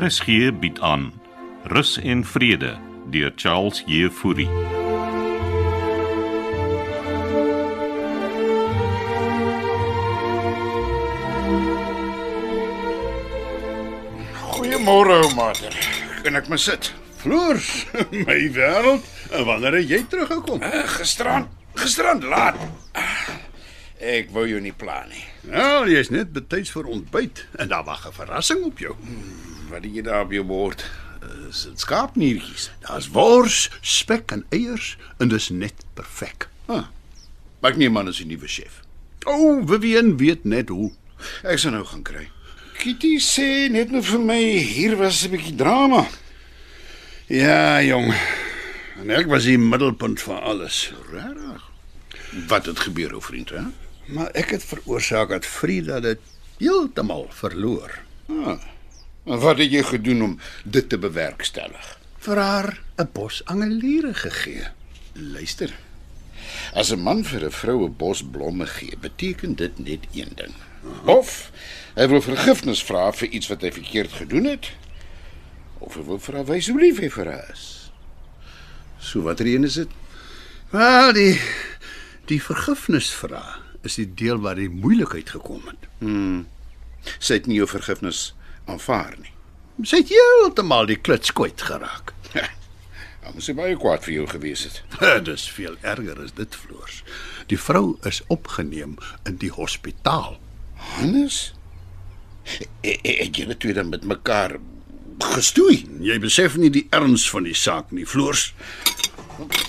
RSG bied aan Rus en Vrede deur Charles Jefouri. Goeiemôre, ou mater. Kan ek maar sit? Floors, my wêreld. En wanneer het jy teruggekom? Eh, Gisterand, gisterand laat. Ah, Ek wou jou nie pla nie. Wel, jy's Nou, net betyds vir ontbyt en daar wag 'n verrassing op jou. Wat het jy daar op jou bord? Dis dit skaapniertjies. Daar's wors, spek en eiers en dis net perfek. Huh. Maar ek neem aan dis die nuwe chef. O, oh, Vivian weet net hoe. Ek sal nou gaan kry. Kitty sê net nou vir my hier was 'n bietjie drama. Ja, jong. En ek was die middelpunt van alles. Regtig. Wat het gebeur, ou vriend, hè? Maar ek het veroorsaak dat Frida dit heeltemal verloor. En wat het jy gedoen om dit te bewerkstellig? vir haar 'n bos angeliere gegee. Luister. As 'n man vir 'n vrou 'n bos blomme gee, beteken dit net een ding. Of hy wil vergifnis vra vir iets wat hy verkeerd gedoen het, of hy wil vra wys hoe lief hy vir haar is. er So watter een is dit? Wel, die die vergifnisvraag is die deel waar die moeilikheid gekom het. Sy het nie jou vergifnis aanvaar nie. Sy het heeltemal die kluts kwyt geraak. Dan moes sy baie kwaad vir jou gewees het. Dis veel erger as dit floors. Die vrou is opgeneem in die hospitaal. Hannes? E- e- Het julle twee dan met mekaar gestoei? Jy besef nie die erns van die saak nie, floors.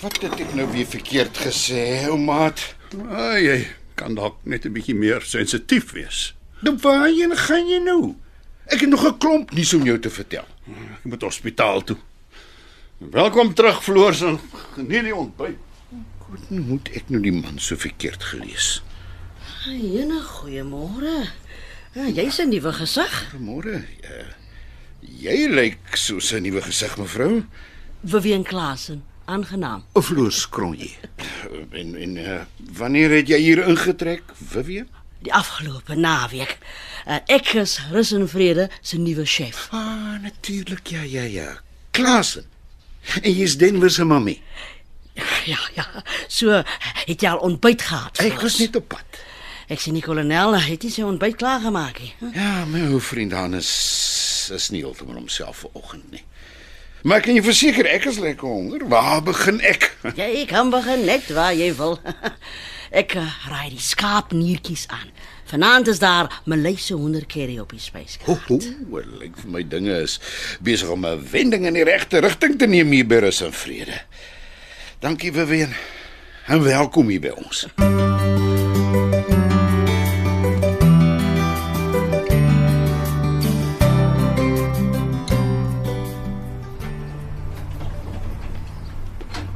Wat het ek nou weer verkeerd gesê, ou maat? Ah, jy kan dalk net 'n bietjie meer sensitief wees. Nou waarheen gaan jy nou? Ek het nog 'n klomp nuus om jou te vertel. Ek moet hospitaal toe. Welkom terug, floors, en geniet die ontbyt. Goed, nou moet ek nou die man so verkeerd gelees? Jene, goeiemôre. Ja, jy's 'n nuwe gesig. Goeiemôre. eh, Jy lyk soos 'n nuwe gesig, mevrou. Vivian Klasen, aangenaam. Floors Kronje. En en eh, wanneer het jy hier ingetrek, Vivian? Die afgelope naweek. Uh, ek is Rus en Vrede se nuwe chef. Ah, natuurlik. Ja, ja, ja. Klasen. En jy's Denver se mammy. Ja, ja. So het jy al ontbyt gehad? Ek Floris? was net op pad. Ek sien die kolonel nou, het nie sy ontbyt klaar gemaak nie. Hm, Ja, my ou vriend Hannes is nie heeltemal homself vanoggend nie. Maar ek kan jou verseker, ek is lekker honger. Waar begin ek? Jy kan begin net waar jy wil. Ek uh, raai die skaapniertjies aan. Vanaand is daar Malayse honderkerry op die spyskaart. Hoe lyk like vir my dinge is besig om 'n wending in die regte rigting te neem hier by Rus en Vrede. Dankie Vivian. En welkom hier by ons.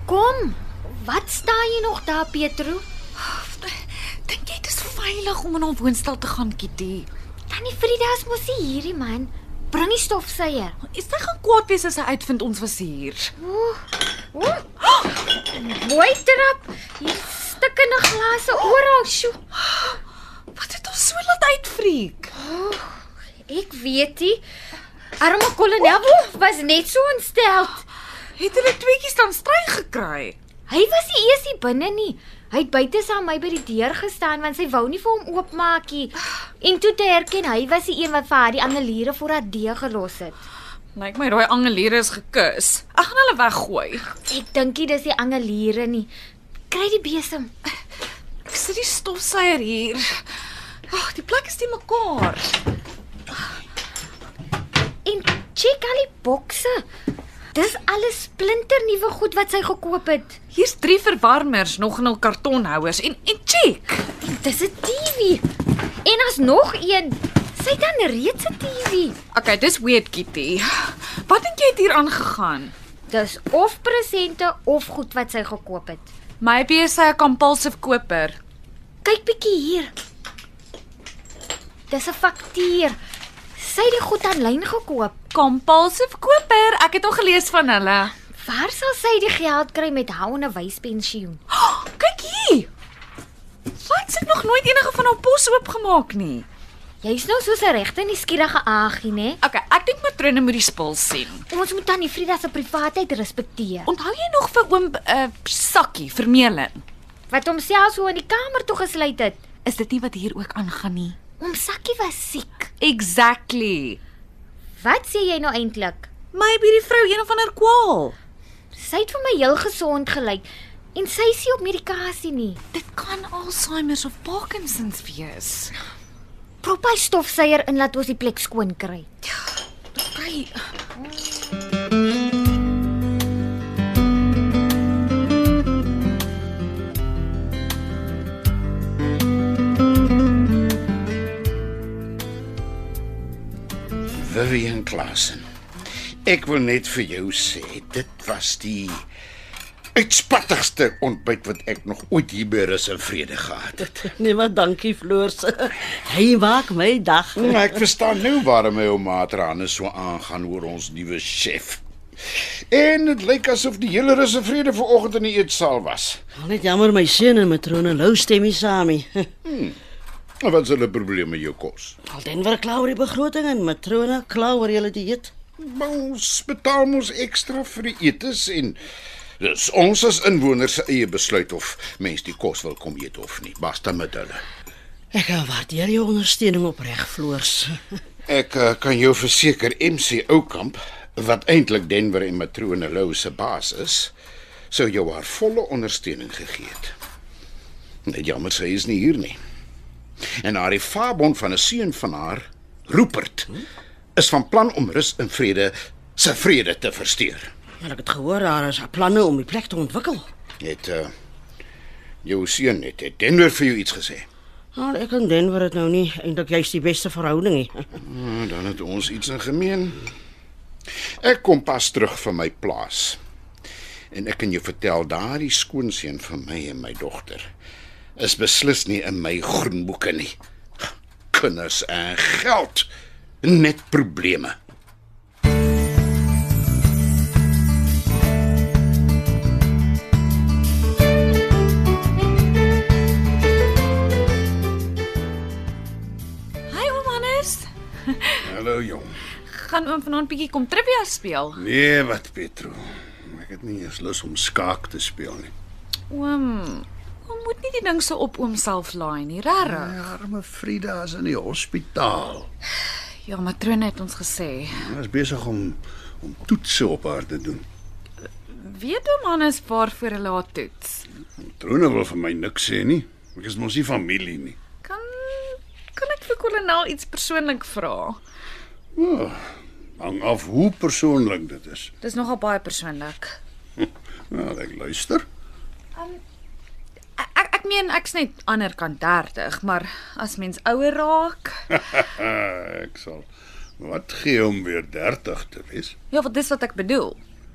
Kom. Wat staan jy nog daar, Petro? Dink jy dit is veilig om in haar woonstel te gaan, Kitty? Tannie Frida is mos nie hierdie man. Bring die stofsuier. Is sy gaan kwaad wees as sy uitvind ons was hier? Ooh. Mooi trap. Hier stikkende glase oral. Sjoe. Wat het ons so laat uitfreek? Ek weet nie. Arme kolonel was net so ontstel. Het hulle tweetjies dan stry gekry? Hy was nie eers hier binne nie. Hy het buite saam my by die deur gestaan want sy wou nie vir hom oopmaak nie. En toe te herken hy was die een wat vir haar die anneliere voor haar deeg gelos het. Lyk my daai angeliere is gekus. Ek gaan hulle weggooi. Ek dink nie dis die angeliere nie. Kry die besem. Ek sit die stofsuier hier. Ag, die plek is te mekaar. En check al die bokse. Dis alles splinternuwe goed wat sy gekoop het. Hier's drie verwarmers nog in hul kartonhouers en en check. En dis 'n TV. En as nog een. Sy het dan reeds 'n TV. Okay, dis weird, Kitty. Wat dink jy het hier aangegaan? Dis of presente of goed wat sy gekoop het. Maybe is sy 'n compulsive koper. Kyk bietjie hier. Dis 'n faktuur. Sy het die goed aanlyn gekoop. Compulsive koper. Ek het al gelees van hulle. Waar sal sy die geld kry met haar onderwyspensioen? Oh, kyk hier. Wat sit nog nooit enige van haar pos oopgemaak nie. Jy's nou soos 'n regte nuuskierige agie, né? Okay, ek dink matrone moet die spul sien. Ons moet tannie Frida se privaatheid respekteer. Onthou jy nog vir oom 'n uh, sakkie vermeeling? Wat homself so in die kamer toe gesluit het. Is dit nie wat hier ook aangaan nie? Oom Sakkie was siek. Exactly. Wat sê jy nou eintlik? Maybe die vrou een of ander kwaal. Sy het vir my heel gesond gelyk en sy is nie op medikasie nie. Dit kan Alzheimer of Parkinsons wees. Prop hy stofsuier in laat ons die plek skoon kry. Okay. Vivian Klassen. Ek wil net vir jou sê, dit was die uitspattigste ontbyt wat ek nog ooit hier by Rus en Vrede gehad het. Nee, maar dankie Floors. Hy maak my dag. Oh, Maar ek verstaan nou waarom my ouma Trane so aangaan oor ons nuwe chef. En dit lyk asof die hele Rus en Vrede vanoggend in die eetsaal was. Al net jammer my seun en matrone Lou stem nie saam nie. En Nou, wat is hulle probleem met jou kos? Al Denver klou oor die begroting en matrone klou oor julle dieet. Maar ons betaal mos ekstra vir die etes en dis ons as inwoners se eie besluit of mense die kos wil kom eet of nie. Basta met hulle. Ek eh, waardeer jou ondersteuning opreg, Floors. Ek uh, kan jou verseker MC Oukamp wat eintlik Denver en Matrone Lou se baas is, sou jou haar volle ondersteuning gegee het. Net jammer sy is nie hier nie. En haar faabond van 'n seun van haar, Rupert, is van plan om rus en vrede se vrede te versteur. Maar ek het gehoor daar is planne om die plek te ontwikkel. Het uh, jou seun net het Denver vir jou iets gesê. Al ek en Denver het nou nie eintlik juist die beste verhouding nie. Nou, dan het ons iets in gemeen. Ek kom pas terug van my plaas. En ek kan jou vertel, daardie skoonseun van my en my dogter is beslis nie in my groenboeke nie. Kinders en geld, net probleme. Hi oom Hannes. Hallo jong. Gaan oom vanaand bietjie kom trivia speel? Nee, wat Petro. Ek het nie eens lus om skaak te speel nie. Oom, oom moet nie die ding so op oom self laai nie, regtig. Arme Frida is in die hospitaal. Ja, matrone het ons gesê. Sy is besig om om toetse op haar te doen. Weet oom Hannes waarvoor hulle haar toets? Trone wil vir my niks sê nie. Ek is mos nie familie nie. Kan kan ek vir kolonel iets persoonlik vra? Hang af hoe persoonlik dit is. Dis nogal baie persoonlik. Nou, ek luister. E-, Ek ek, ek meen ek's net ander kant 30, maar as mens ouer raak, Ah, ek sal wat gee om weer 30 te wees? ja, wat dis wat ek bedoel.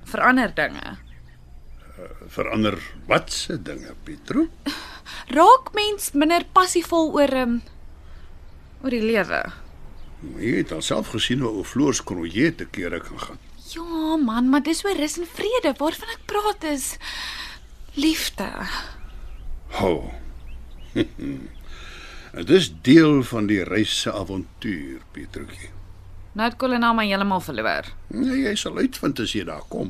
Verander dinge. Verander wat se dinge, Pietro? Raak mens minder passievol oor um, oor die lewe. Jy het alself gesien hoe ou Floors Kroje te kere kan gaan. Ja, man, maar dis oor rus en vrede. Waarvan ek praat is liefde. Ho. Oh. Dit is deel van die reis se avontuur, Pietrootjie. Nou het kolonel my heeltemal verloor. Nee, jy sal uitvind as jy daar kom.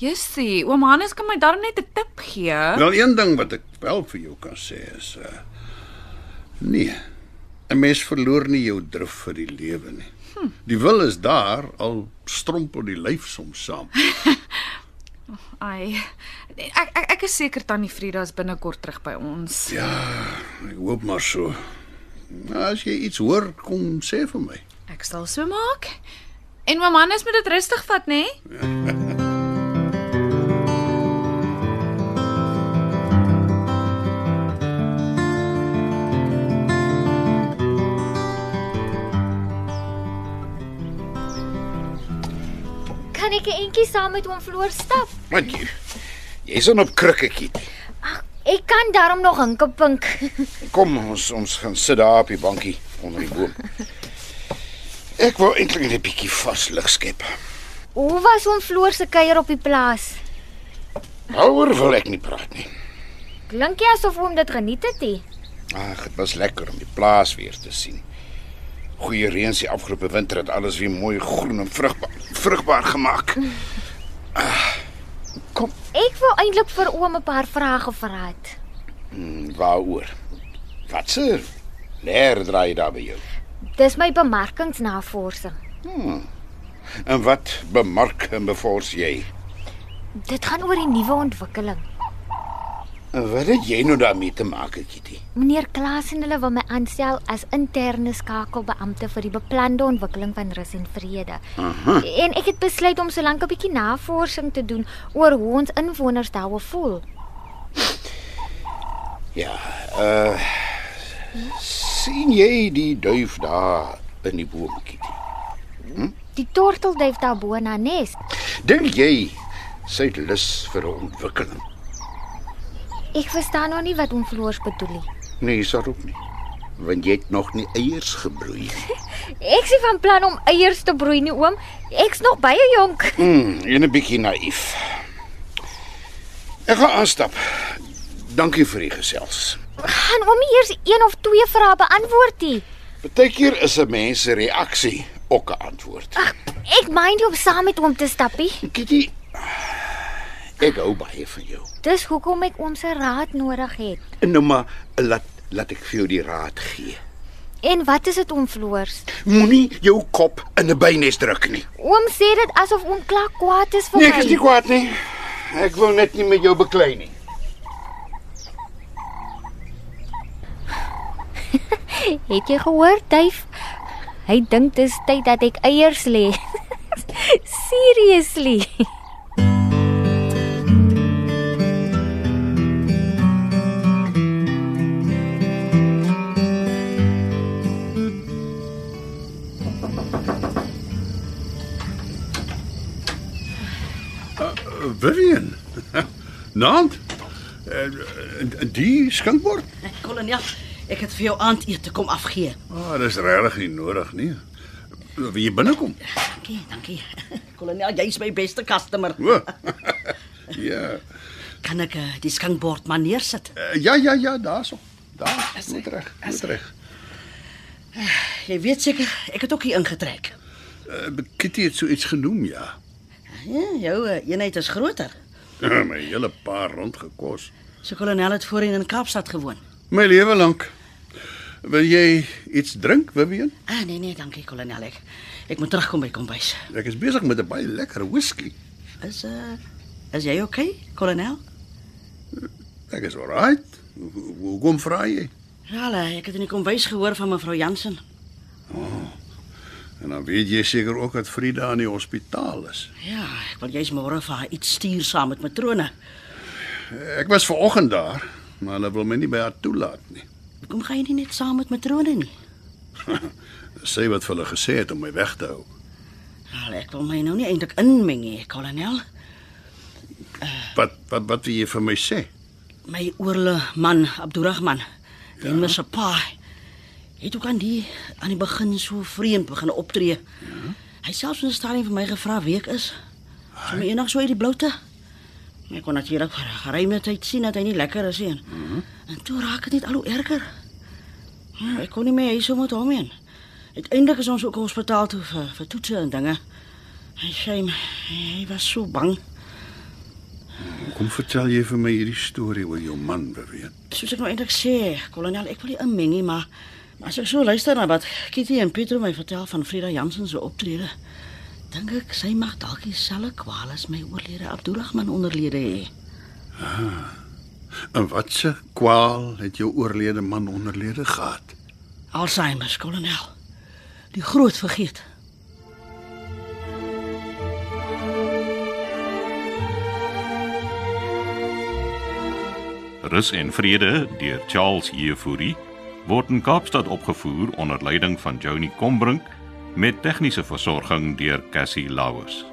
Jessie, oom Hannes kan my darm net 'n tip gee. Wel een ding wat ek wel vir jou kan sê is uh nee. 'n Mens verloor nie jou drif vir die lewe nie. Die wil is daar, al strompel die lyf soms saam. Ai. Ek ek ek is seker tannie Frida is binnekort terug by ons. Ek hoop maar so. Nou, as jy iets hoor, kom sê vir my. Ek sal so maak. En oom Hannes moet dit rustig vat, nê? Nee? Kan ek 'n entjie saam met oom Floor stap? Want jy jy's dan op krikketjie. Ag, ek kan daarom nog hinkepink. Kom ons ons gaan sit daar op die bankie onder die boom. Ek wou eintlik net 'n bietjie vars lug skep. Hoe was oom Floor se kuier op die plaas? Houer wil ek nie praat nie. Klink jy asof oom dit geniet het? He? Ag, dit was lekker om die plaas weer te sien. Goeie reëns die afgelope winter het alles weer mooi groen en vrugbaar vrugbaar gemaak. Ah, Kom, Ek wou eintlik vir oom 'n paar vrae gevra het. hmm, waaroor? Wat se leer draai jy daar by jou? Dis my bemarkingsnavorsing. En wat bemark en bevors jy? Dit gaan oor die nuwe ontwikkeling. En wat het jy nou daarmee te maak, Kitty? Meneer Klaas en hulle wil my aanstel as interne skakelbeampte vir die beplande ontwikkeling van rus en vrede. Aha. En ek het besluit om solank 'n bietjie navorsing te doen oor hoe ons inwoners daaroor voel. Ja, uh sien jy die duif daar in die boom, Kitty? Die tortelduif daarbo in haar nes. Dink jy sy het lus vir 'n ontwikkeling? Ek verstaan nog nie wat hom floors bedoel nie. Nee, is daar ook nie. Want jy het nog nie eiers gebroei nie. Ek sien van plan om eiers te broei nie, oom. Ek's nog baie jonk. Mm, en 'n bietjie naïef. Ek gaan aanstap. Dankie vir die gesels. Gaan oom nie eers een of twee vrae beantwoord nie. Partykeer is 'n mens se reaksie ook 'n antwoord. Ag, ek mind nie om saam met oom te stappie. Kitty, ek hou baie van jou. Dis hoekom ek oom se raad nodig het. En nou maar laat laat ek vir jou die raad gee. En wat is dit oom floors? Moenie jou kop in 'n bynes druk nie. Oom sê dit asof oom klaar kwaad is vir Nee, my. ek is nie kwaad nie. Ek wil net nie met jou beklei nie. Het jy gehoor, Duif? Hy dink dis tyd dat ek eiers lê. Seriously. Vivian. Nant. Eh, Die skinkbord? Nee, Kolonel, ek het vir jou aandete kom afgee. Ah, dis regtig nie nodig nie. Wil jy binnekom? Dankie, dankie. Kolonel, jy's my beste customer. O. ja. Kan ek eh, die skankbord maar neersit? Eh, Ja ja ja, daarso. Daar, net reg, net reg. Jy weet seker, ek het ook hier ingetrek. Eh, Kitty het so iets genoem, ja. Ja, jou eh, eenheid is groter. My hele paar rond gekos. So kolonel het voorheen in Kaapstad gewoon. My lewe lank. Wil jy iets drink, Vivian? Ah nee nee, dankie kolonel. Ek, ek moet terugkom by kombuis. Ek is besig met 'n baie lekker whisky. Is uh is jy okay, kolonel? Ek is alright. Ho- ho- Hoekom vra jy? Ja, la, ek het in die kombuis gehoor van mevrou Jansen. En dan weet jy seker ook dat Frida in die hospitaal is. Ja, ek wil jy's môre vir haar iets stuur saam met matrone. Ek was ver oggend daar, maar hulle wil my nie by haar toelaat nie. Hoekom gaan jy nie net saam met matrone nie? Sê wat vir hulle gesê het om my weg te hou. Al ek wil my nou nie eintlik inmeng nie, kolonel. Wat wat wat wil jy vir my sê? My oorle man, Abdurrahman, die ja. se pa. Het ook aan die aan die begin so vreemd begin optree. Ja. Hy het selfs in 'n stadium vir my gevra wie ek is. So my eendag so uit die bloute. Ek kon natuurlik vir geruime tyd sien dat hy nie lekker is nie. Mm -hmm. En toe raak dit net al hoe erger. Ja, ek kon nie meer hier so met hom heen. Uiteindelik is ons ook hospitaal toe vir, vir toetse en dinge. Hy sê hy was so bang. Kom vertel jy vir my hierdie storie oor jou man, Vivian. Soos ek nou eintlik sê, kolonel, ek wil nie inmeng nie, maar maar as ek so luister na wat Kitty en Pietro my vertel van Frida Jansen se optrede, dink ek sy mag dalk dieselfde kwaal as my oorlede Abdurrahman onderlede hê. En wat se kwaal het jou oorlede man onderlede gehad? Alzheimer, kolonel. Die groot vergeet. Rus en Vrede deur Charles Jefouri word in Kaapstad opgevoer onder leiding van Johnny Combrink met tegniese versorging deur Cassie Lauers.